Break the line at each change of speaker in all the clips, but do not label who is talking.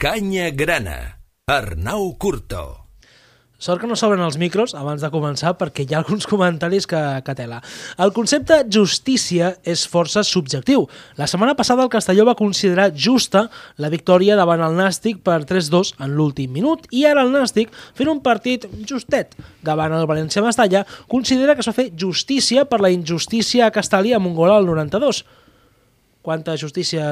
Canya Grana. Arnau Curto.
Sort que no s'obren els micros abans de començar perquè hi ha alguns comentaris que, que tela. El concepte justícia és força subjectiu. La setmana passada el Castelló va considerar justa la victòria davant el Nàstic per 3-2 en l'últim minut i ara el Nàstic, fent un partit justet davant el València Mestalla, considera que s'ha fet justícia per la injustícia a Castellà a Mongola al 92 quanta justícia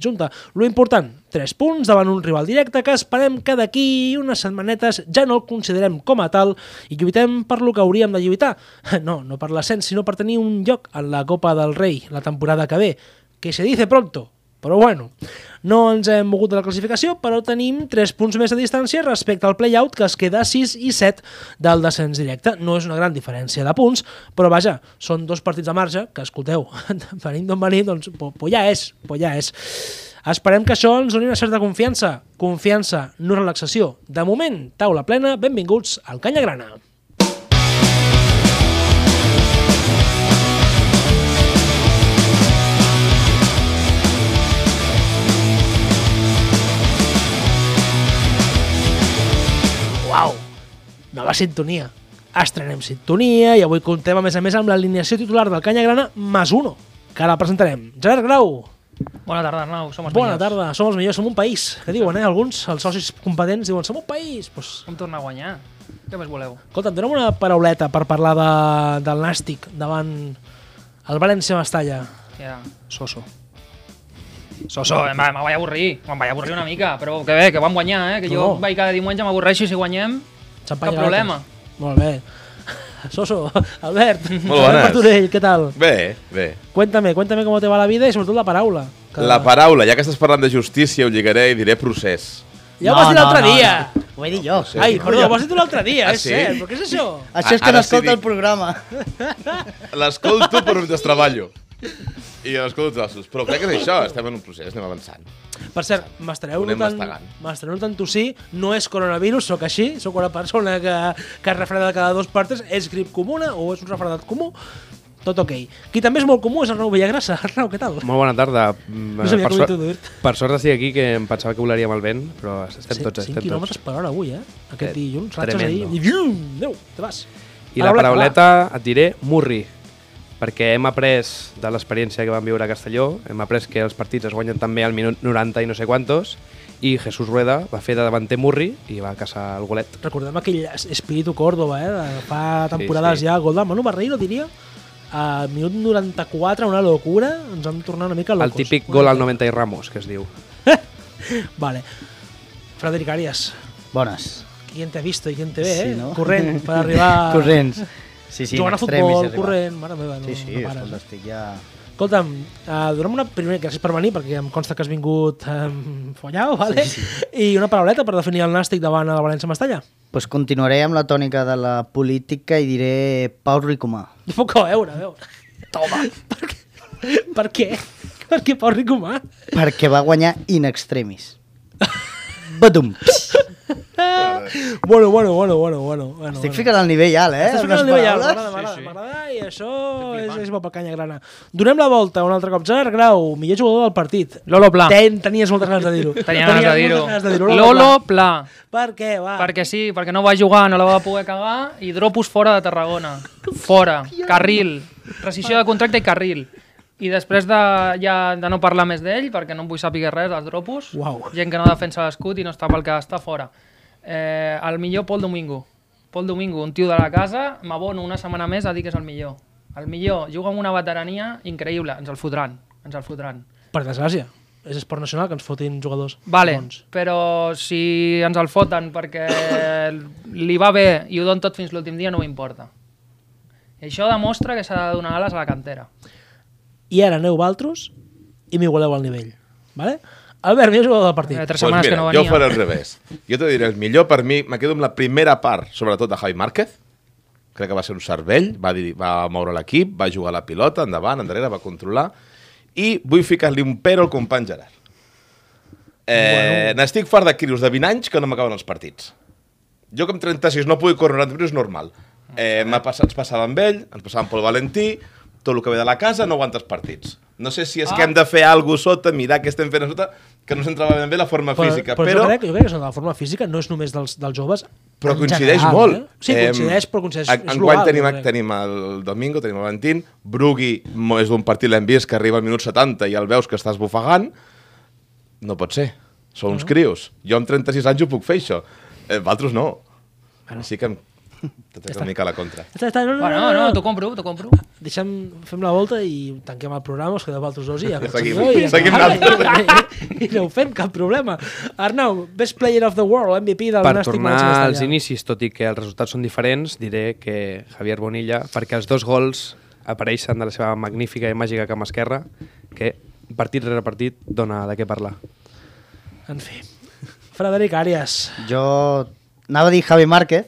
junta. Lo important, 3 punts davant un rival directe que esperem que d'aquí unes setmanetes ja no el considerem com a tal i lluitem per lo que hauríem de lluitar. No, no per l'ascens, sinó per tenir un lloc en la Copa del Rei la temporada que ve. Que se dice pronto, però bueno, no ens hem mogut de la classificació, però tenim 3 punts més de distància respecte al play-out que es queda a 6 i 7 del descens directe. No és una gran diferència de punts, però vaja, són dos partits de marge que, escolteu, venim d'on venim, doncs po, po ja és, po ja és. Esperem que això ens doni una certa confiança. Confiança, no relaxació. De moment, taula plena, benvinguts al Canya Grana. Uau! Nova sintonia. Estrenem sintonia i avui comptem, a més a més, amb l'alineació titular del Canya Grana Mas 1, que la presentarem. Gerard Grau,
Bona tarda, Arnau. Som els
bona
millors.
tarda, som els millors, som un país, que diuen, eh? Alguns, els socis competents, diuen, som un país. Pues,
Vam tornar a guanyar. Què més voleu?
escolta, dona'm una parauleta per parlar de, del Nàstic davant el València Mestalla.
Ja, soso. Soso, em va- me'n vaig avorrir. Me'n vaig avorrir una mica, però que bé, que vam guanyar, eh? Que
Tu
jo
no.
vaig cada diumenge m'avorreixo i si guanyem...
Xampany
Cap
gratis.
problema.
Molt bé. Soso, Albert, Albert
Molt bones.
Martorell, què tal?
Bé, bé.
Cuéntame, cuéntame com te va la vida i sobretot la paraula. que-
La paraula, ja que estàs parlant de justícia, ho lligaré i diré procés.
Ja ho vas dir l'altre dia!
No. Ho he dit jo.
sé.
Ai,
no,
perdó,
ja.
ho has dit l'altre dia,
Ah,
és
sí?
cert, però què és això?
Això
Ara
és que
sí,
no escolta
dic.
el programa.
L'escolto per mentre treballo. I l'escolto els ossos. Però crec que és això, estem en un procés, anem avançant.
Per cert, m'estareu
Anem
notant,
mastegant.
m'estareu notant tossir, no és coronavirus, sóc així, sóc una persona que, que es refreda cada dos partes, és grip comuna o és un refredat comú, tot ok. Qui també és molt comú és Arnau Villagrassa. Arnau, què tal?
Molt bona tarda. Mm,
No sabia
per,
com
sort-
introduir-te.
per sort estic aquí, que em pensava que volaria amb el vent, però estem
Cin-
tots,
cinc
estem
quilòmetres
tots.
per hora avui, eh? Aquest
Eh,
dilluns, ratxes ahir,
tremendo.
i vium, adéu, te vas.
I
A
la
Black,
parauleta et diré murri, perquè hem après de l'experiència que vam viure a Castelló, hem après que els partits es guanyen també al minut 90 i no sé quantos, i Jesús Rueda va fer de davanter murri i va caçar el golet.
Recordem aquell es- espíritu Córdoba, eh? De fa temporades
sí.
ja, gol de Manu Barreiro, diria. A minut 94, una locura, ens vam tornar una mica
El
locos.
típic gol al 90 i Ramos, que es diu.
Vale. Frederic Arias,
Bones.
¿Quién te ha visto y quién te ve,
Sí,
eh?
no?
Corrent, per arribar...
Corrents. Sí, sí,
jugant a
en extremis he
futbol,
arribat.
corrent, mare meva, no,
Sí, sí,
no pares.
escolta, estic ja...
Escolta'm, uh, dona'm una... Primer, gràcies per venir, perquè em consta que has vingut um, follau, vale? Sí, sí. I una parauleta per definir el nàstic davant el València Mestalla.
Pues continuaré amb la tònica de la política i diré Pau Ricomà.
Jo puc a veure, a veure. Toma! per, què? per què? Per què Pau Ricomà?
Perquè va guanyar in extremis. Badum. Psst.
Bueno, bueno, bueno, bueno, bueno. bueno
Estic
bueno.
ficant al nivell alt, eh?
Estàs
amb
ficant
les
el nivell alt,
paraules.
m'agrada, m'agrada, m'agrada, i això és, és bo per canya grana. Donem la volta un altre cop. Gerard Grau, millor jugador del partit.
Lolo Pla.
Ten, tenies moltes ganes de dir-ho.
Tenia ganes de dir-ho.
moltes ganes de dir-ho.
Lolo
Pla.
Pla.
Per què, va?
Perquè sí, perquè no va jugar, no la va poder cagar i Dropus fora de Tarragona. Fora. Carril. Rescissió de contracte i carril. I després de, ja, de no parlar més d'ell, perquè no en vull saber res dels Dropus,
Uau.
gent que no defensa l'escut i no està pel que està fora. Eh, el millor Pol Domingo. Pol Domingo, un tio de la casa, m'abono una setmana més a dir que és el millor. El millor, juga amb una veterania increïble, ens el fotran, ens el fotran.
Per desgràcia. És esport nacional que ens fotin jugadors.
Vale,
Bons.
però si ens el foten perquè li va bé i ho don tot fins l'últim dia no m'importa. I això demostra que s'ha de donar ales a la cantera.
I ara aneu valtros i m'igualeu al nivell. Vale? Albert, millor jugador del
Feia
partit.
tres setmanes
Doncs mira,
que no
jo faré
venia.
al revés. Jo te diré, el millor per mi, me quedo amb la primera part, sobretot de Javi Márquez. Crec que va ser un cervell, va, dir, va moure l'equip, va jugar a la pilota, endavant, enrere, va controlar. I vull ficar-li un però al company Gerard. Eh, bueno. N'estic fart de crios de 20 anys que no m'acaben els partits. Jo que amb 36 no puc córrer 90 minuts, normal.
Ah,
Eh, m'ha passat, ens passava amb ell, ens passava amb Pol Valentí, tot el que ve de la casa no aguantes partits. No sé si és ah. que hem de fer alguna cosa sota, mirar què estem fent a sota, que no s'entrava ben bé la forma
Però,
física,
però,
però,
jo, crec, jo crec que la forma física no és només dels, dels joves.
però
en
coincideix
general,
molt.
Eh? Sí, coincideix, però coincideix.
En,
és
enguany
global,
tenim,
jo crec.
tenim el Domingo, tenim el Valentín, Brugui mo- és d'un partit l'hem vist que arriba al minut 70 i el veus que estàs bufegant, no pot ser. Són uns crios. Jo amb 36 anys ho puc fer, això. Eh, Valtros no. Bueno. Així que em... Tot és una mica a la contra.
Està, està, no, no,
Bueno,
no, no,
no, t'ho compro, t'ho compro.
Deixem, fem la volta i tanquem el programa, us quedeu altres dos i ja
Seguim.
no, i,
Seguim
ja-
nosaltres.
i, no ho fem, cap problema. Arnau, best player of the world, MVP del
Per
Nàstic
tornar
València
als
Castellà.
inicis, tot i que els resultats són diferents, diré que Javier Bonilla, perquè els dos gols apareixen de la seva magnífica i màgica cama esquerra, que partit rere partit dona de què parlar.
En fi. Frederic Arias.
Jo anava a dir Javi Márquez,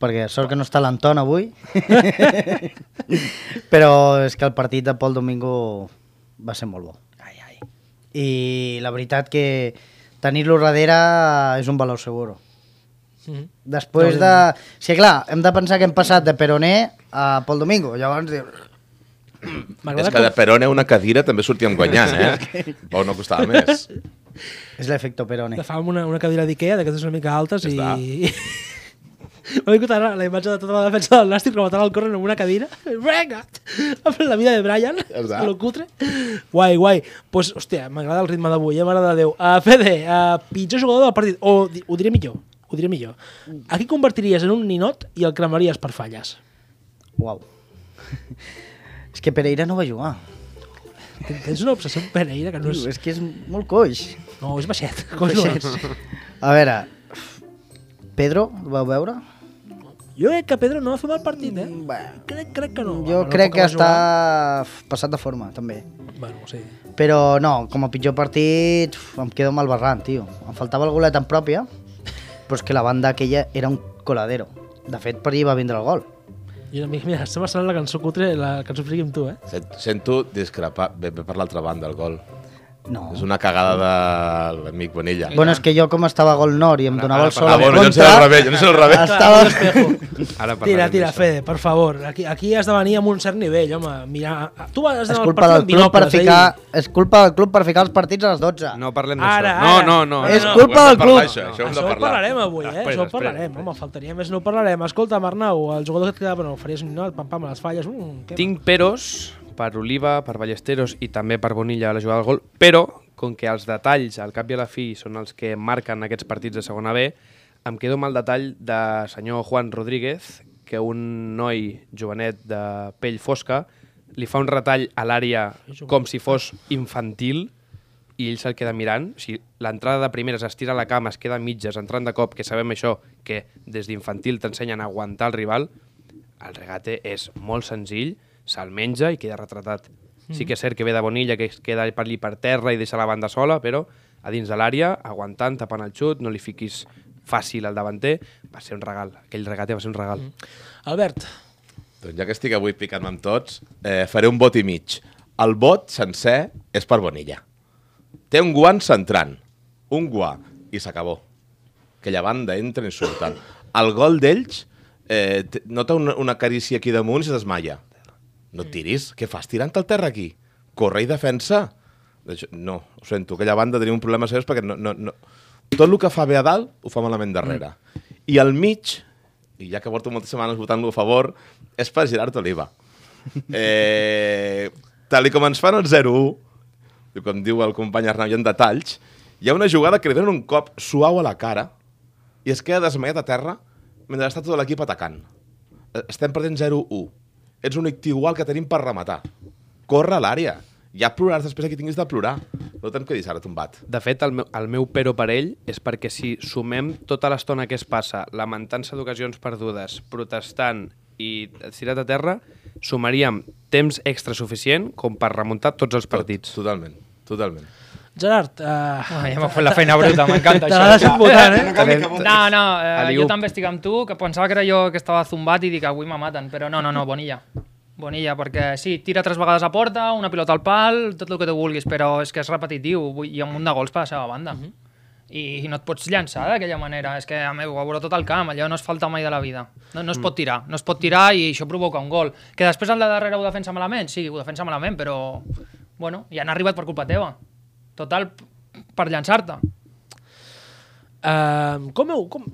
perquè sort que no està l'Anton avui. Però és que el partit de Pol Domingo va ser molt bo. Ai, ai. I la veritat que tenir-lo darrere és un valor seguro.
Mhm.
Després de... Sí, clar, hem de pensar que hem passat de Peroné a Pol Domingo. Llavors dius,
És
M'agrada
que de
com...
Perone una cadira també sortíem guanyant, eh? Bo, no costava més.
és l'efecte Peroné.
De fa una, una cadira d'Ikea, d'aquestes una mica altes i...
Ja
M'ha vingut ara la imatge de tota la defensa del Nàstic rematant el corren amb una cadira. Vinga! La vida de Brian, a
està.
lo cutre. Guai, guai. Pues, hòstia, m'agrada el ritme d'avui, eh, mare de Déu. Uh, Fede, uh, pitjor jugador del partit, o di- ho diré millor, ho diré millor. A qui convertiries en un ninot i el cremaries per falles?
Uau. és que Pereira no va jugar.
Tens una obsessió amb Pereira que no és...
És que és molt coix.
No, és baixet.
Baixet.
Baixet.
A veure, Pedro, el vau veure?
Jo crec que Pedro no va fer mal partit, eh?
Mm,
Bueno.
Crec, crec que no.
Jo
Bueno,
crec
com
que
va
està passat de forma, també.
jugar- Bueno, sí.
Però no, com a pitjor partit, uf, em quedo amb el Barran, tio. Em faltava el golet en pròpia, però és que la banda aquella era un coladero. De fet, per allà va vindre el gol.
Jo, mira, mira, estem estant la cançó cutre, la cançó friki amb tu, eh?
Sent- Sento discrepar, ve, ve per l'altra banda el gol.
No.
És una cagada de l'amic Bonilla.
Bueno, és que jo com estava gol nord i em donava el sol
ah,
a
bueno, jo no sé al revés, jo no sé al revés.
estava...
Ara
Tira,
parlarem
tira,
d'això.
Fede, per favor. Aquí, aquí has de venir amb un cert nivell, home. Mira, a- tu vas
És
anar al
culpa
partit
del
amb eh?
club per
binocles,
ficar... És culpa del club per ficar els partits a les 12.
No parlem
Ara,
d'això.
ara.
No, no, no.
És
no.
culpa del club.
Això,
No,
això,
Eh?
hem
Això
de
ho
parlar.
parlarem avui, eh?
Després,
Això ho
després,
parlarem,
després.
home, faltaria més, no ho parlarem. Escolta, Arnau, el jugador que et quedava, bueno, faries un ninot, pam, pam, a les falles... Mm, què-
Tinc peros per Oliva, per Ballesteros i també per Bonilla a la jugada del gol, però com que els detalls al cap i a la fi són els que marquen aquests partits de segona B, em quedo amb el detall de senyor Juan Rodríguez, que un noi jovenet de pell fosca li fa un retall a l'àrea com si fos infantil i ell se'l queda mirant. O sigui, l'entrada de primeres es tira la cama, es queda a mitges, entrant de cop, que sabem això, que des d'infantil t'ensenyen a aguantar el rival, el regate és molt senzill, se'l menja i queda retratat. Sí que és cert que ve de Bonilla, que es queda per allí per terra i deixa la banda sola, però a dins de l'àrea, aguantant, tapant el xut, no li fiquis fàcil al davanter, va ser un regal. Aquell regate va ser un regal.
Albert,
Doncs ja que estic avui picant amb tots, eh, faré un vot i mig. El vot sencer és per Bonilla. Té un guant centrant, un guà, i s'acabó. Aquella banda entra i surten. El gol d'ells eh, t- nota una, una carícia aquí damunt i es desmaia. No et tiris, què fas tirant al terra aquí? Corre i defensa. Això- No, ho sento, aquella banda tenia un problema seriós perquè no, no, no. tot el que fa bé a dalt ho fa malament darrere. I al mig, i ja que porto moltes setmanes votant-lo a favor, és per Gerard Oliva. Eh, tal i com ens fan el 0-1, i com diu el company Arnau, hi ha detalls, hi ha una jugada que li donen un cop suau a la cara i es queda desmaiat a terra mentre està tot l'equip atacant. Eh, Estem perdent 0-1. Ets l'únic tio igual que tenim per rematar. Corre a l'àrea. Ja ploraràs després que tinguis de plorar. No te'n quedis ara tombat.
De fet, el meu, el meu però per ell és perquè si sumem tota l'estona que es passa lamentant-se d'ocasions perdudes, protestant i estirat a terra, sumaríem temps extra suficient com per remuntar tots els partits.
Tot, totalment, totalment.
Gerard... Uh,
Ah, ja m'ha fet la feina bruta, m'encanta
Te l'ha deixat
això.
votant, eh?
No, no, eh,
Aliup.
jo també estic amb tu, que pensava que era jo que estava zumbat i dic avui me maten, però no, no, no, Bonilla. Bonilla, perquè sí, tira tres vegades a porta, una pilota al pal, tot el que tu vulguis, però és que és repetitiu, vull- hi ha un munt de gols per la seva banda. I, no et pots llançar d'aquella manera, és que a meu, a veure tot el camp, allò no es falta mai de la vida. No, no es pot tirar, no es pot tirar i això provoca un gol. Que després el de darrere ho defensa malament, sí, ho defensa malament, però bueno, ja han arribat per culpa teva. Total, per llançar-te.
Uh, com heu... Com...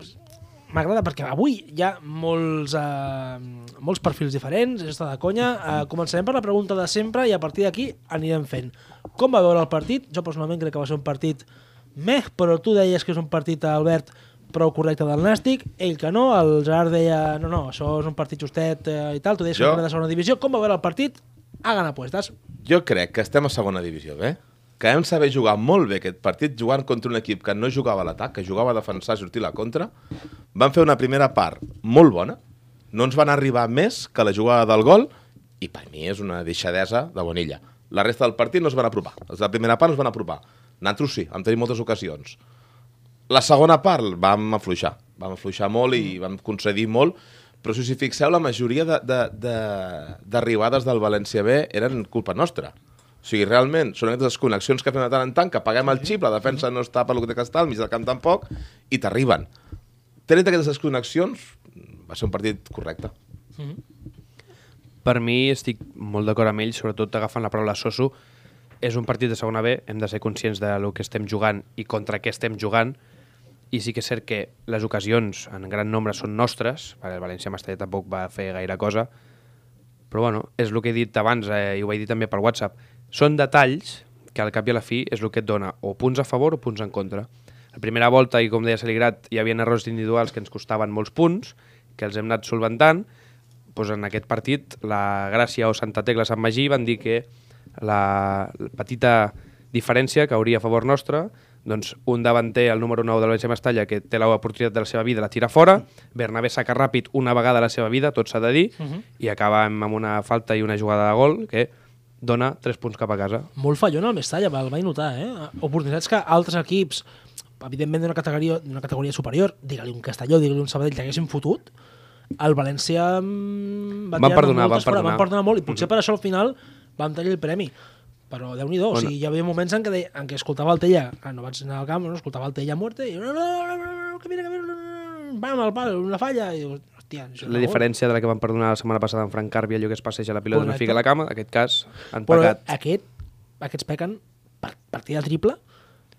M'agrada perquè avui hi ha molts, uh, molts perfils diferents, és de conya. Uh, començarem per la pregunta de sempre i a partir d'aquí anirem fent. Com va veure el partit? Jo personalment crec que va ser un partit meh, però tu deies que és un partit, Albert, prou correcte del Nàstic, ell que no, el Gerard deia no, no, això és un partit justet eh, i tal, tu deies
Jo?
jo... de segona divisió, com va veure el partit? Hagan apuestas.
Jo crec que estem a segona divisió, bé? Que hem saber jugar molt bé aquest partit, jugant contra un equip que no jugava a l'atac, que jugava a defensar, sortir a la contra. Van fer una primera part molt bona, no ens van arribar més que la jugada del gol, i per mi és una deixadesa de Bonilla. La resta del partit no es van apropar. Els de la primera part no es van apropar. Nosaltres sí, vam tenir moltes ocasions. La segona part vam afluixar, vam afluixar molt i vam concedir molt, però si us hi fixeu, la majoria de- de- de- d'arribades de, del València B eren culpa nostra. O sigui, realment, són aquestes connexions que fem de tant en tant, que paguem el xip, la defensa no està pel que té que estar, al mig del camp tampoc, i t'arriben. Tret aquestes desconnexions, va ser un partit correcte.
Per mi estic molt d'acord amb ell, sobretot agafant la paraula Soso. És un partit de segona B, hem de ser conscients de lo que estem jugant i contra què estem jugant. I sí que és cert que les ocasions en gran nombre són nostres, perquè el València Mestalla tampoc va fer gaire cosa, però bueno, és el que he dit abans eh, i ho he dit també per WhatsApp. Són detalls que al cap i a la fi és el que et dona o punts a favor o punts en contra. La primera volta, i com deia Saligrat, hi havia errors individuals que ens costaven molts punts, que els hem anat solventant. Doncs en aquest partit, la Gràcia o Santa Tecla Sant Magí van dir que la la petita diferència que hauria a favor nostra, doncs un davanter, el número 9 del València Mestalla, que té l'oportunitat de la seva vida, la tira fora, Bernabé saca ràpid una vegada la seva vida, tot s'ha de dir,
Mhm.
i acaba amb amb una falta i una jugada de gol que dona 3 punts cap a casa.
Molt fallona el Mestalla, el vaig notar, eh? Oportunitats que altres equips, evidentment d'una categoria, d'una categoria superior, digue-li un Castelló, digue-li un Sabadell, t'haguessin fotut, el València... mm, Va
Van
tirar-ne
perdonar,
moltes
van
fora,
perdonar. Mm-hmm.
Van perdonar molt, i potser per això al final vam tenir el premi. Però déu nhi bueno. o
Bueno.
sigui, hi havia moments en què, deia, en què escoltava el Tella, ah, no vaig anar al camp, no, escoltava el Tella a muerte, i... No, no, no, no, no, que mira, que mira, no, no, no, bam, el pal, una falla, i... dius, Hòstia, això no.
La diferència de la que van perdonar la setmana passada en Frank Carvi, allò que es passeja la pilota i no
Correcte.
fica a la cama, en aquest cas han
Però
pecat
aquest, aquests pequen per partida triple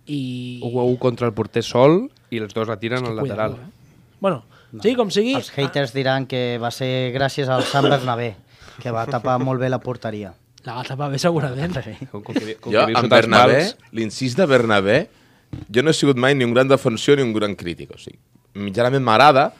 i...
1 a 1 contra el porter sol i els dos la tiren al
Cuidado,
lateral.
eh? Bueno, sí, com sigui...
Els haters diran que va ser gràcies al Sant Bernabé, que va tapar molt bé la porteria.
La gata va bé, segurament.
Com, com que, com
jo,
que vius
amb
sota els
Bernabé,
pals,
l'incís de Bernabé, jo no he sigut mai ni un gran defensor ni un gran crític. O sigui, mitjanament m'agrada,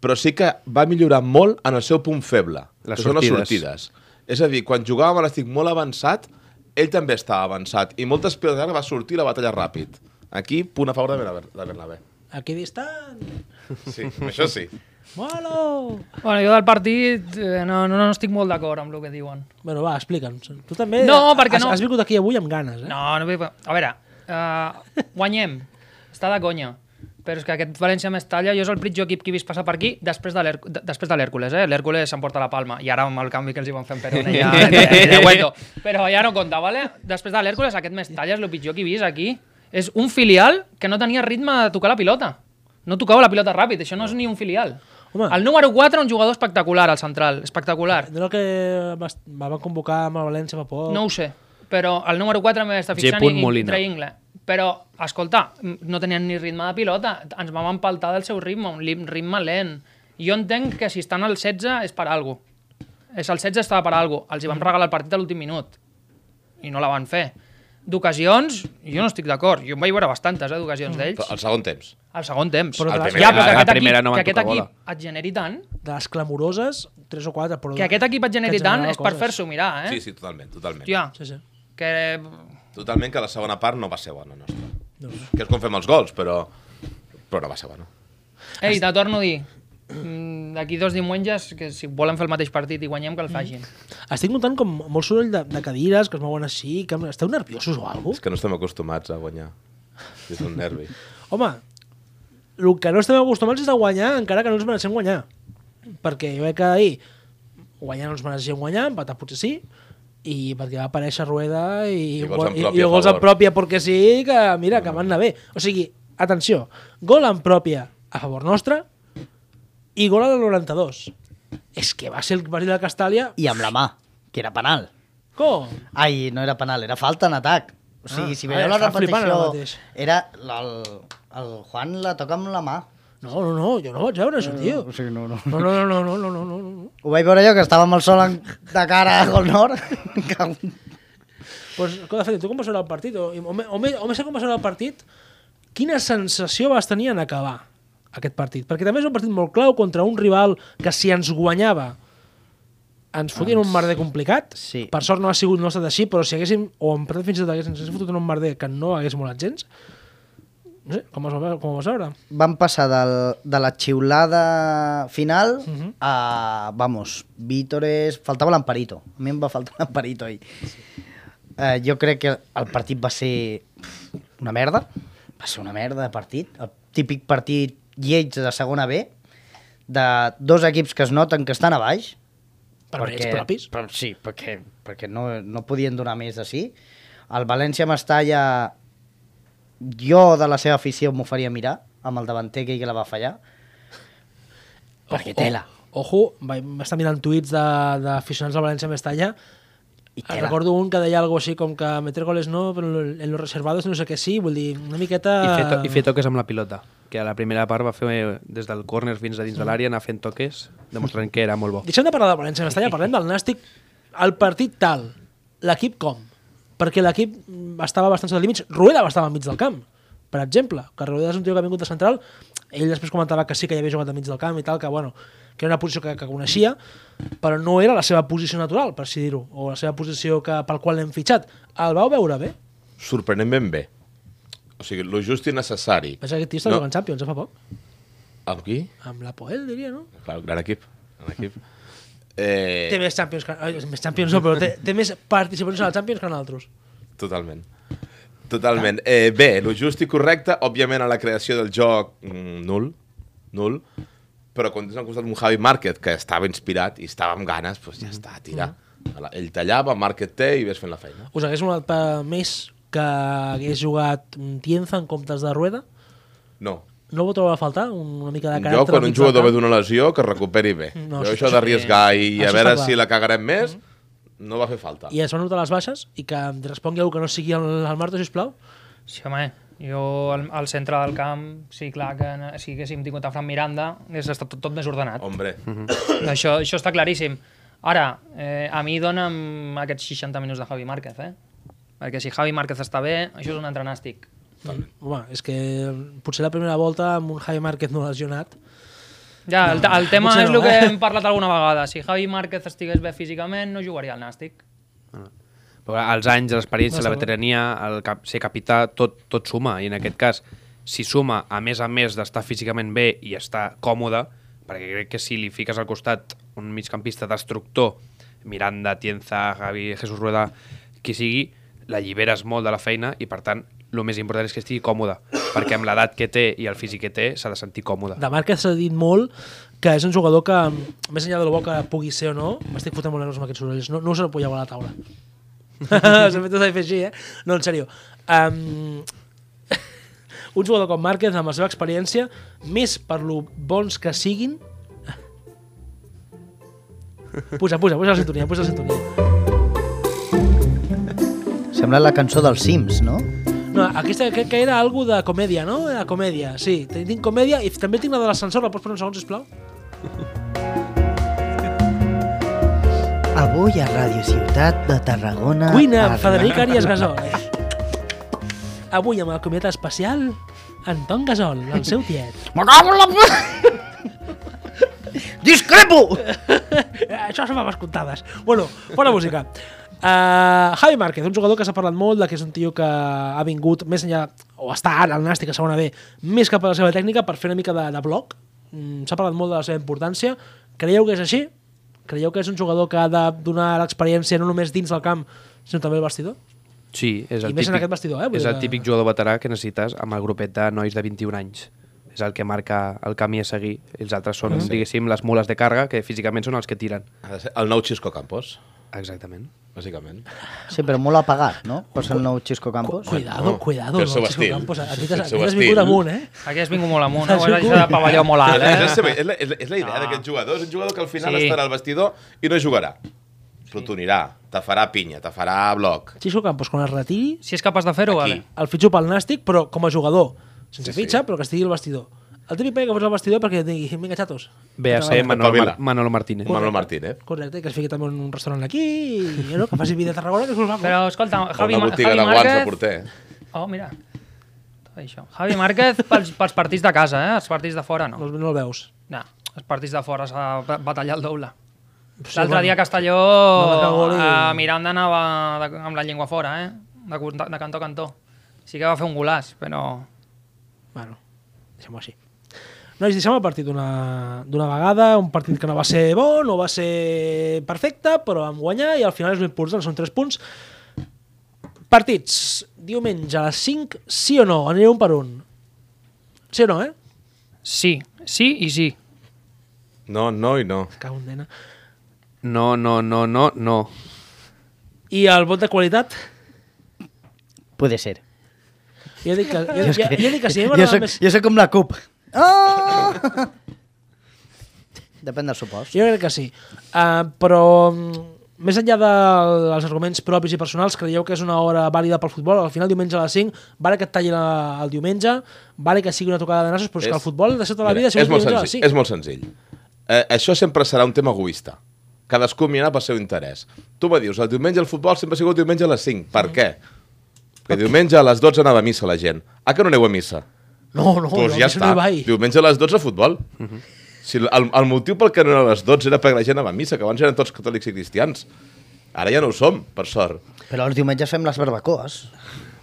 però sí que va millorar molt en el seu punt feble,
Les
que són les
sortides.
sortides. És a dir, quan jugàvem a l'estic molt avançat, ell també estava avançat, i moltes pilotes va sortir la batalla ràpid. Aquí, punt a favor de Berna- de Bernabé.
Aquí distant.
Sí, això sí.
Molo!
Bueno, jo del partit eh, no, no, no estic molt d'acord amb el que diuen.
Bueno, va, explica'ns. Tu també
No, perquè
has,
no.
has vingut aquí avui amb ganes, eh?
No, no, ve- a veure, uh, guanyem, està de conya, però és que aquest València Mestalla jo és el pitjor equip que he vist passar per aquí després de l'Hèrc- de- després de l'Hèrcules, eh? L'Hèrcules s'emporta la palma, i ara amb el canvi que els hi van fer en Perona ja... de hueco. Però ja no compta, vale? Després de l'Hèrcules aquest Mestalla és el pitjor que he vist aquí. És un filial que no tenia ritme de tocar la pilota. No tocava la pilota ràpid, això no és ni un filial.
Home.
El número 4, un jugador espectacular, al central, espectacular.
No el que vas- me van convocar amb el València fa poc.
No ho sé, però el número 4 m'he d'estar
Oh. G.
fixant i, i
Molina.
Triangle. Però, escolta, m- no tenien ni ritme de pilota, ens vam empaltar del seu ritme, un lim- ritme lent. Jo entenc que si estan al 16 és per algo. És el 16 estava per algo. Els
Mm.
hi vam regalar el partit a l'últim minut. I no la van fer. D'ocasions, jo no estic d'acord. Jo en vaig veure bastantes, eh, d'ocasions
Mm.
d'ells.
El segon temps.
Al segon temps.
Però
El
de les,
primer-
Ja, però que
la
aquest
primera
equip,
no van
que aquest
tocar
equip et generi tant,
de les clamoroses, 3 o 4, però...
que aquest equip et generi
et
tant
generava
és per
coses.
fer-s'ho mirar, eh?
Sí, sí, totalment, totalment.
Hòstia,
Sí, sí.
que
Totalment que la segona part no va ser bona nostra.
No, no.
Que és com fem els gols, però, però no va ser bona.
Ei, te torno a dir. Mm, D'aquí dos diumenges, que si volen fer el mateix partit i guanyem, que
Mm.
el facin.
Estic notant com molt soroll de, de cadires, que es mouen així, que esteu nerviosos o alguna
És que no estem acostumats a guanyar. És un nervi.
Home, el que no estem acostumats és a guanyar encara que no ens mereixem guanyar. Perquè jo crec que ahir guanyar no ens mereixem guanyar, empatar potser sí, i perquè va aparèixer Rueda i,
I gols en
i,
pròpia
i
a
gols en
favor. Mm.
pròpia perquè sí, que mira, que van anar bé. O sigui, atenció, gol en pròpia a favor nostre i gol al 92. És que va ser el partit de Castàlia...
I amb la mà, que era penal.
Com?
Ai, no era penal, era falta en atac. O sigui,
Ah,
si
ah,
veieu la
està flipant ara
repetició,
mateix.
era... la- El, el Juan la toca amb la mà.
No, no, no, jo no vaig veure això, tio.
O sigui, no, no.
No, no, no, no, no, no, no, no.
Ho vaig veure jo, que estava amb el sol en, de cara al Gol Nord. que-
Pues, escolta, Fede, tu com vas veure el partit? O, o, me- o, me- o més que com vas veure el partit, quina sensació vas tenir en acabar aquest partit? Perquè també és un partit molt clau contra un rival que si ens guanyava ens fotien un merder complicat.
Sí.
Per sort no ha sigut no ha estat així, però si haguéssim, o empatat fins i tot haguéssim, ens haguéssim fotut en un merder que no hagués molat gens, no sé, com, vas, com ho vas veure?
Van passar del, de la xiulada final a, vamos, vítores... Faltava l'Amparito. A mi em va faltar l'Amparito ahir. Eh, jo crec que el partit va ser pf, una merda. Va ser una merda de partit. El típic partit lleig de segona B de dos equips que es noten que estan a baix.
Per mèrits propis?
Per, sí, perquè, perquè no, no podien donar més de sí. El València-Mestalla jo de la seva afició m'ho faria mirar amb el davanter aquell que la va fallar perquè tela.
Ojo, vaig estar mirant tuits de- d'aficionats de, del València Mestalla
i
Tela.
tela.
Ah, Recordo un que deia algo així com que meter goles no, però en los reservados no sé què sí, vull dir, una miqueta...
I fer,
Eh,
to- I fer toques amb la pilota, que a la primera part va fer eh, des del córner fins a dins de l'àrea, anar fent toques, demostrant que era molt bo.
Deixem de parlar del València Mestalla, parlem del Nàstic. El partit tal, l'equip com? Perquè l'equip mm, estava bastant sota límits, Rueda estava enmig del camp, per exemple, que Rueda és un tio que ha vingut de central, ell després comentava que sí que ja havia jugat enmig del camp i tal, que bueno, que era una posició que, que coneixia, però no era la seva posició natural, per així dir-ho, o la seva posició que, pel qual l'hem fitxat. El vau veure bé?
Sorprenentment bé. O sigui, lo just i necessari.
Pensa que aquest tio està
No.
jugant Champions eh, fa poc,
Amb qui?
amb la Poel, diria, no?
Clar, gran equip. Gran equip. Eh,
té més Champions que... Ai, més Champions no, però té, té més participacions a la Champions que nosaltres.
Totalment. Totalment. Eh, bé, lo just i correcte, òbviament a la creació del joc, mm, nul, nul, però quan tens al costat un Javi Márquez que estava inspirat i estava amb ganes, doncs ja està, tira. A la- Ell tallava, Márquez té i vés fent la feina.
Us hagués molat pa- més que hagués jugat mm, Tienza en comptes de Rueda?
No.
No ho trobava a faltar? Un- Una mica de caràcter?
Jo, quan
al
un
mig del
jugador ve
camp?
d'una lesió, que es recuperi bé.
No,
No, jo
això-
això d'arriesgar i
Això
a
està
veure
clar.
si la cagarem més, no va fer falta.
Mm-hmm. I es van notar les baixes? I que em respongui algú que no sigui el, el Marto, sisplau?
Sí, home, jo al, al centre del camp, sí, clar, que no- si haguéssim tingut a Fran Miranda, hauria estat tot, tot més ordenat.
Hombre,
Mm-hmm.
Això, això està claríssim. Ara, eh, a mi dona'm aquests 60 minuts de Javi Márquez, eh? Perquè si Javi Márquez està bé, això és un entrenàstic.
Home, és que potser la primera volta amb un Javi Márquez no lesionat
Ja, el, te- el tema
potser
és
no,
el que
eh?
hem parlat alguna vegada. Si Javi Márquez estigués bé físicament, no jugaria al nàstic.
Però els anys, l'experiència, la
Massa bé.
veterania, el cap, ser capità, tot, tot suma. I en aquest cas, si suma, a més a més d'estar físicament bé i estar còmode, perquè crec que si li fiques al costat un migcampista destructor, Miranda, Tienza, Javi, Jesús Rueda, qui sigui, l'alliberes molt de la feina i, per tant, el més important és que estigui còmode, perquè amb l'edat que té i el físic que té s'ha de sentir còmode.
De Márquez s'ha dit molt que és un jugador que, més enllà del bo que pugui ser o no, m'estic fotent molt nerviós amb aquests sorolls, no, no us apoyeu a la taula. Sempre t'ho de fer així, eh? No, en sèrio. Um, un jugador com Márquez, amb la seva experiència, més per lo bons que siguin... Puja, puja, puja la sintonia, puja la sintonia.
Sembla la cançó dels Sims, no?
No, aquesta crec que era algo de comèdia, no? De comèdia, sí. Tinc comèdia i també tinc la de l'ascensor, la pots posar un segon, sisplau?
Avui a Radio Ciutat de Tarragona...
Cuina amb
Arnau-
Frederic Arias Gasol. eh? Avui amb el comiat especial, Anton Gasol, el seu tiet.
Me cago en la... pu- Discrepo!
Eh, Això són faves comptades. Bueno, bona música. Uh, Javi Márquez, un jugador que s'ha parlat molt de que és un tio que ha vingut més enllà, o està ara al Nàstic a segona B, més cap a la seva tècnica per fer una mica de, de bloc. Mm, s'ha parlat molt de la seva importància. Creieu que és així? Creieu que és un jugador que ha de donar l'experiència no només dins del camp, sinó també al vestidor?
Sí, és el
I més en
típic,
aquest vestidor, eh? Vull
És
dir
el
que-
típic jugador veterà que necessites amb el grupet de nois de 21 anys. És el que marca el camí a seguir. Els altres són, diguéssim, les mules de carga, que físicament són els que tiren.
ha de ser el nou Xisco Campos,
Exactament.
bàsicament.
Sí, però molt apagat, no? Per ser el nou Xisco
Cu-
Campos.
Cuidado,
no.
cuidado.
Té
No,
el seu
Xisco
estil.
Campos, a
Té
ti
el
t'has a
seu
ti t'has
estil.
vingut amunt, eh?
Aquí has vingut molt amunt,
Has
no? És això de
vingut-
pavelló molt
És,
alt,
la,
eh?
Ah.
seva- és, la, és la idea d'aquest jugador, és un jugador que al final
Sí.
estarà al vestidor i no jugarà. T'otonirà, te farà pinya, te farà bloc.
Xixo Campos, quan es retiri,
Si és capaç de fer-ho,
Aquí.
vale.
el fitxo pel nàstic, però com a jugador. Sense
Sí, sí.
fitxa, però que estigui al vestidor. El típic paio que posa al vestidor perquè digui, vinga, xatos.
Ve a ser Manolo,
Pavela.
Mar- Manolo Martínez.
Manolo Martínez.
Correcte, i que es fiqui també en un restaurant aquí, i, no, que faci vida a Tarragona, que és molt maco.
Però escolta,
O
Javi,
una
Ma-
botiga
Javi
de guants de
Márquez...
porter.
Oh, mira. Això. Javi Márquez pels, pels partits de casa, eh? Els partits de fora,
No,
no.
el- no el veus.
No, els partits de fora s'ha de ba- batallar el doble.
bueno.
L'altre dia a Castelló
marcar gol i-
a Miranda anava de, amb la llengua fora, eh? De, cont- de cantó a cantó. Sí que va fer un golàs, però...
Bueno, deixem-ho així. Nois, deixem el partit d'una d'una vegada, un partit que no va ser bo, no va ser perfecte, però vam guanyar i al final és l'important, són 3 punts. Partits, diumenge a les 5, sí o no? Aniré un per un. Sí o no, eh?
Sí, sí i sí.
No, no i no.
Cago en nena.
No, no, no, no, no.
I el vot de qualitat?
Puede ser.
Jo dic que, jo, jo, jo dic que sí, eh?
jo,
m'agrada
soc,
més. Ah!
jo soc com la CUP. Oh! Depèn del supost.
Jo crec que sí. Uh, però mm, més enllà dels arguments propis i personals, creieu que és una hora vàlida pel futbol? Al final, diumenge a les 5, vale que et tallin a- el diumenge, vale que sigui una tocada de nassos, però és, que
És-
el futbol de tota la vida
Mira, és, molt
diumenge a les
senzill, és molt senzill. Eh, això sempre serà un tema egoista. Cadascú mirarà pel seu interès. Tu me dius, el diumenge el futbol sempre ha sigut diumenge a les 5. Per què? Perquè diumenge a les 12 anava a missa la gent. Ah, que no aneu a missa?
No, no,
Doncs
no,
ja
jo no
està.
hi vaig. Mhm.
Diumenge a les 12 futbol. Si el, el motiu pel que no era a les 12 era perquè la gent anava a missa, que abans eren tots catòlics i cristians. Ara ja no ho som, per sort.
Però els diumenges fem les barbacoes.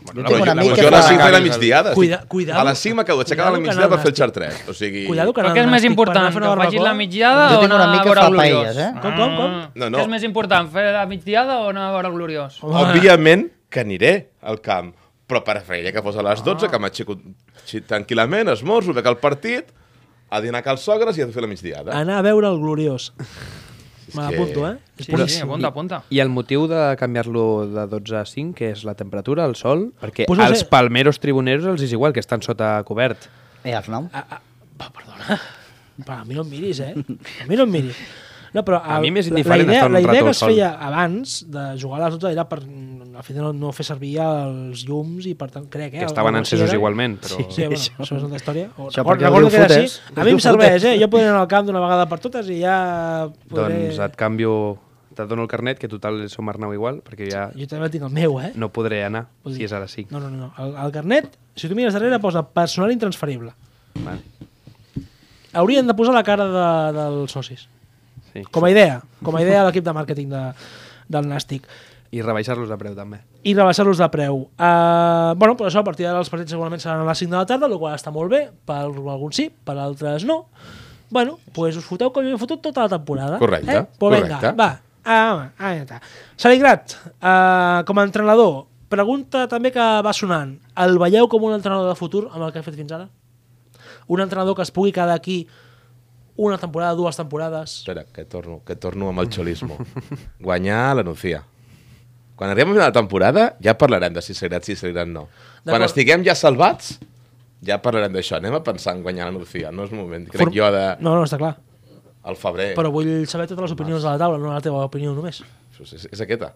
Bueno, jo
Però
tinc un
jo,
amic
doncs
que
jo a les 5
fa...
feia la migdiada. estic-
Cuida- cuidado.
a les 5 m'acabo d'aixecar a la
Cuidado que
migdiada per fer el
anar al
xartres. O sigui...
Cuidado que
Però
anar
què és
al nàstic
més
per anar
important,
a fer
que
una
facis la
barbacoa?
mitjada
Jo
o
tinc
Ah,
un
anar
amic
a
que
veure
fa
Gloriós?
paelles, eh?
Com, com, com?
Ah,
No, no.
Què és més important, fer la mitjada o anar a veure Gloriós?
Òbviament que aniré al camp, però preferiria que fos a les 12, que m'aixeco així tranquil·lament, esmorzo, veig el partit, a dinar a Cals Sogres i a fer la migdiada.
Anar a veure el gloriós. Me
Ah. que-
l'apunto, eh? És
Sí, sí,
boníssim.
apunta, apunta.
I el motiu de canviar-lo de 12 a 5, que és la temperatura, el sol, perquè
Pues
pues
no
als
sé.
palmeros tribuneros els és igual que estan sota cobert.
Eh, Arnau?
Però a mi no em miris, eh? A mi no em miris. No, però
A
el-
mi m'és
la- la
indiferent
idea,
estar un
la idea
rato
que
al
es
sol.
feia abans de jugar a les 12 era per mm, al final no fer servir els llums i per tant crec eh,
Que estaven
algo així
encesos
era.
igualment, però-
sí, sí, bueno, això, és una altra història o,
Això
recordo,
perquè ho
recordo que era així
futes.
a mi em
Ho
serveix
futes.
eh? jo podré anar al camp d'una vegada per totes i ja podré...
Doncs et canvio... Te dono el carnet, que total som Arnau igual, perquè ja
jo també tinc el meu eh?
no podré anar,
Vull dir-
si és a les 5.
no, no, no, no. El, el carnet si tu mires darrere posa personal intransferible
Vale,
haurien de posar la cara de, dels socis
sí.
com a idea com a idea de l'equip de màrqueting de, del Nàstic
I rebaixar-los de preu, també.
i rebaixar-los de preu. Uh, bueno, però això a partir d'ara els partits segurament seran a les 5 de la tarda, el qual està molt bé, per alguns sí, per altres no. Bueno, doncs pues us foteu com jo he fotut tota la temporada.
Correcte,
Eh? Pues vinga,
correcte.
va. Ah, home, ah, ja està. Saligrat, uh, com a entrenador, pregunta també que va sonant. El veieu com un entrenador de futur amb el que ha fet fins ara? Un entrenador que es pugui quedar aquí una temporada, dues temporades...
Espera, que torno, que torno amb el xolismo. Guanyar la Nucía. Quan arribem a final de temporada ja parlarem de si seguiran sí, si seguiran no. Quan
D'acord.
estiguem ja salvats, ja parlarem d'això. Anem a pensar en guanyar la Nucía. No és moment, crec jo, de...
No, no, està clar.
el febrer.
Però vull saber totes les opinions de la taula, no la teva opinió només.
És, és aquesta.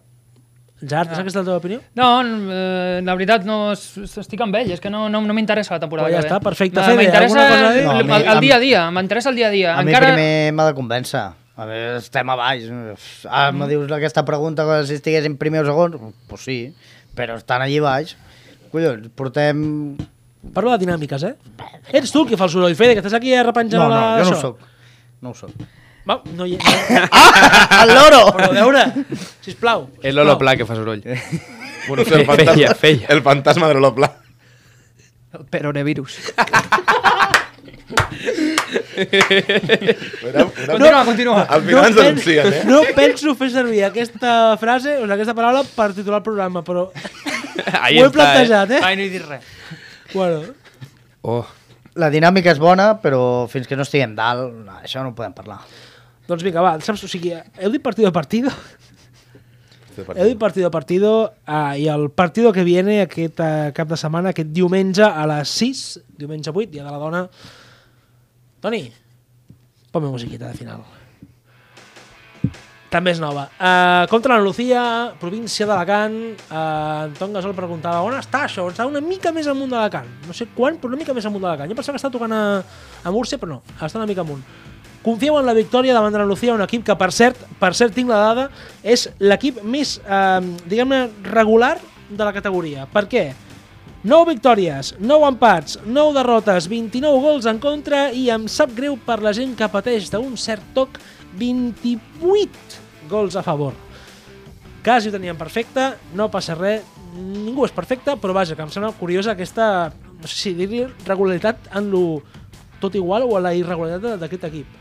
Gerard, és aquesta la teva opinió?
No, eh, la veritat no es- es- estic amb ell, és que no, no, no m'interessa la temporada
Però ja
que ve.
està, perfecte.
M-
Fede,
M'interessa
alguna cosa a
el,
dir?
No, a mi-
el,
a
el
mi-
dia a dia, m'interessa el dia a dia.
A mi
Encara...
primer m'ha de convèncer. A veure, estem a baix. Ara
Mm.
me dius aquesta pregunta com si estiguéssim primer o segon? Pues sí, però estan allí baix. Collons, portem...
Parlo de dinàmiques, eh? Ets tu el que fa el soroll, Fede, que estàs aquí a repenjar
No, no,
la...
jo no ho
això.
soc. No ho soc.
Va, no hi ha...
El loro!
Però a veure, sisplau.
El
sisplau.
Lolo Pla, que fa soroll.
Bueno, el,
Feia,
fantasma,
feia.
el fantasma de l'Olopla.
El peronevirus.
Era,
Continua,
era...
continua.
Al final ens
pen-
denuncien, eh?
no penso fer servir aquesta frase, o sigui, aquesta paraula, per titular el programa, però
Ahí
ho he
està,
plantejat, eh?
Ai, no he dit res.
Bueno,
Eh? Oh,
La dinàmica és bona, però fins que no estiguem dalt, no, això no ho podem parlar.
doncs vinga, va, saps? O sigui, heu dit partido a partido, heu dit partido a partido, ah, i el partido que viene aquest eh, cap de setmana, aquest diumenge a les 6, diumenge 8, dia de la dona. Toni, ponme musiquita de final. També és nova. Uh, contra l'Andalucía, província d'Alacant, uh, Anton Gasol preguntava on està això? Està una mica més amunt d'Alacant. No sé quan, però una mica més amunt d'Alacant. Jo pensava que estava tocant a, a Múrcia, però no, està una mica amunt. Confieu en la victòria davant de l'Andalucía, un equip que, per cert, per cert tinc la dada, és l'equip més, eh, diguem-ne, regular de la categoria. Per què? 9 victòries, 9 empats, 9 derrotes, 29 gols en contra i em sap greu per la gent que pateix d'un cert toc 28 gols a favor. Quasi ho teníem perfecte, no passa res, ningú és perfecte, però vaja, que em sembla curiosa aquesta, no sé si dir-li regularitat en lo tot igual o en la irregularitat d'aquest equip.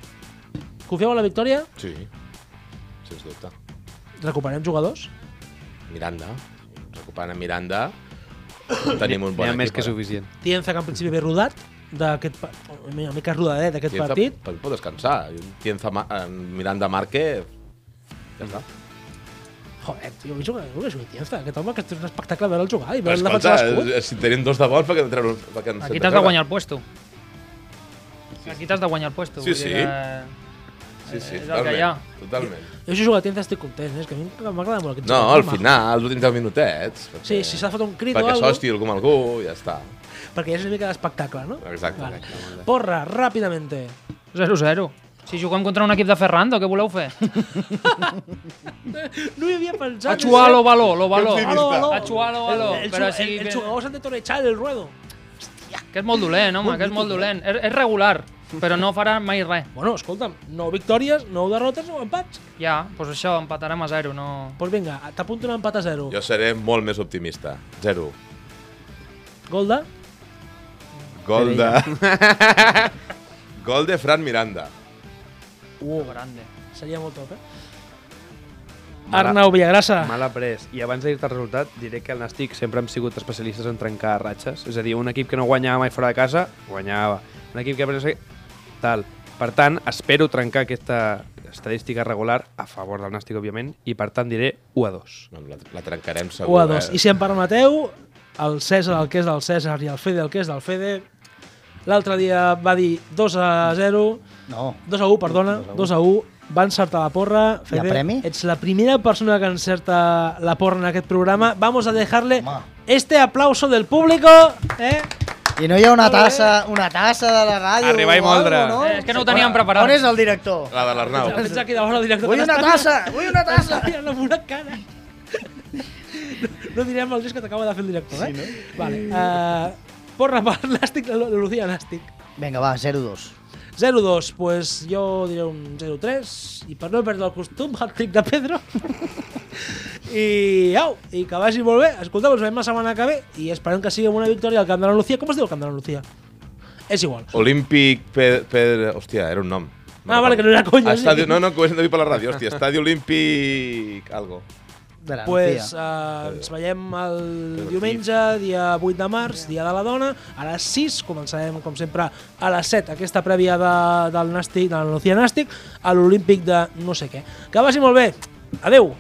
Confieu en la victòria?
Sí, sens dubte.
Recuperem jugadors?
Miranda, recuperant a Miranda, tenim un bon equip.
N'hi ha
eh?
més que
ara.
suficient.
Tienza, que en principi ve rodat, d'aquest pa- una mica rodadet d'aquest
Tienza
partit.
pot- Pot descansar. Tienza, Ma- eh, Miranda Márquez... Ja està.
Joder, tio, vull jugar, vull jugar a Tienza, aquest home que és un espectacle veure'l jugar i veure'l
Escolta,
defensar Doncs l'escut.
eh, si tenim dos de bons, perquè no treure... Perquè ens
Aquí
en
t'has de
treure.
guanyar el puesto. Aquí t'has de guanyar el puesto.
Sí,
vull dir
sí.
que-
Sí, sí,
és el que hi ha.
totalment. Totalment.
Jo si jugo a Tienza estic content, eh? és que a mi m'agrada molt aquest
No,
jugador,
al
maco.
final, els últims 10 minutets. Perquè,
Sí, si s'ha fet un crit o
Perquè
alguna
s'hosti algú amb algú, ja està.
perquè és una mica d'espectacle, no?
Exacte.
Porra, ràpidamente.
0-0. Si juguem contra un equip de Ferrando, què voleu fer?
No hi havia pensat...
A chuar lo baló, lo baló.
Aló,
eh?
aló.
A chuar lo baló.
El, el,
Però
el,
sí
el, el
que,
jugador s'han de torrechar el ruedo.
que és molt dolent, home, que és molt dolent. És, és regular, però no farà mai res.
Bueno, escolta'm, 9 victòries, 9 derrotes, 9 empats. Doncs
Ja, doncs això, empatarem a 0, no...
pues vinga, t'apunto un empat a 0.
Jo seré molt més optimista. Zero.
Gol de...
Gol de... Gol de Fran Miranda.
Uh, grande.
Seria molt top, eh?
Mala-
Arnau Villagrassa.
Mal après. I abans de dir-te el resultat, diré que el Nàstic sempre hem sigut especialistes en trencar ratxes. És a dir, un equip que no guanyava mai fora de casa, guanyava. Un equip que... per exemple, Tal. Per tant, espero trencar aquesta estadística regular a favor del Nàstic, òbviament, i per tant diré 1 a 2.
No, la, la trencarem segur.
1 a 2.
Eh?
I si em permeteu, el César, el que és del César, i el Fede, el que és del Fede, l'altre dia va dir 2 a 0,
No.
2 a 1, perdona, 2 a 1, va encertar la porra. Fede,
premi?
Ets la primera persona que encerta la porra en aquest programa. Vamos a dejarle
Home.
este aplauso del público, eh?
I no hi ha una
Molt bé.
tassa, una tassa de la ràdio
Arribar
o
i
algo,
moldre.
Oh.
no?
Eh, és que no ho teníem preparat.
On és el director?
La de l'Arnau.
Vens aquí davant el director.
Vull
que
una
t'està
tassa! Vull una tassa!
Estàs mirant amb una cara. No direm el gest que t'acaba de fer el director, eh? Sí, no? Vale. Uh, porra per Nàstic, la Lucía Nàstic.
Vinga, va, 0-2.
0-2, pues jo diré un 0-3 i per no perdre el costum, el trick de Pedro. I au, i que vagi molt bé. Escolteu, ens veiem la setmana que ve i esperem que sigui amb una victòria al Camp de la Lucía. Com es diu el Camp de la Lucía? És igual.
Olímpic Pedro... Pe... Hòstia, era un nom.
Ah, vale, que no era conya, sí.
Estadio... No, no, que ho hem de dir per la ràdio. Hòstia, Estadi Olímpic... Algo.
De la
pues,
Lucía.
eh, ens veiem el diumenge, dia 8 de març, dia de la dona, a les 6, començarem com sempre a les 7, aquesta prèvia de, del Nàstic, de la Lucía Nàstic, a l'Olímpic de no sé què. Que vagi molt bé, adeu!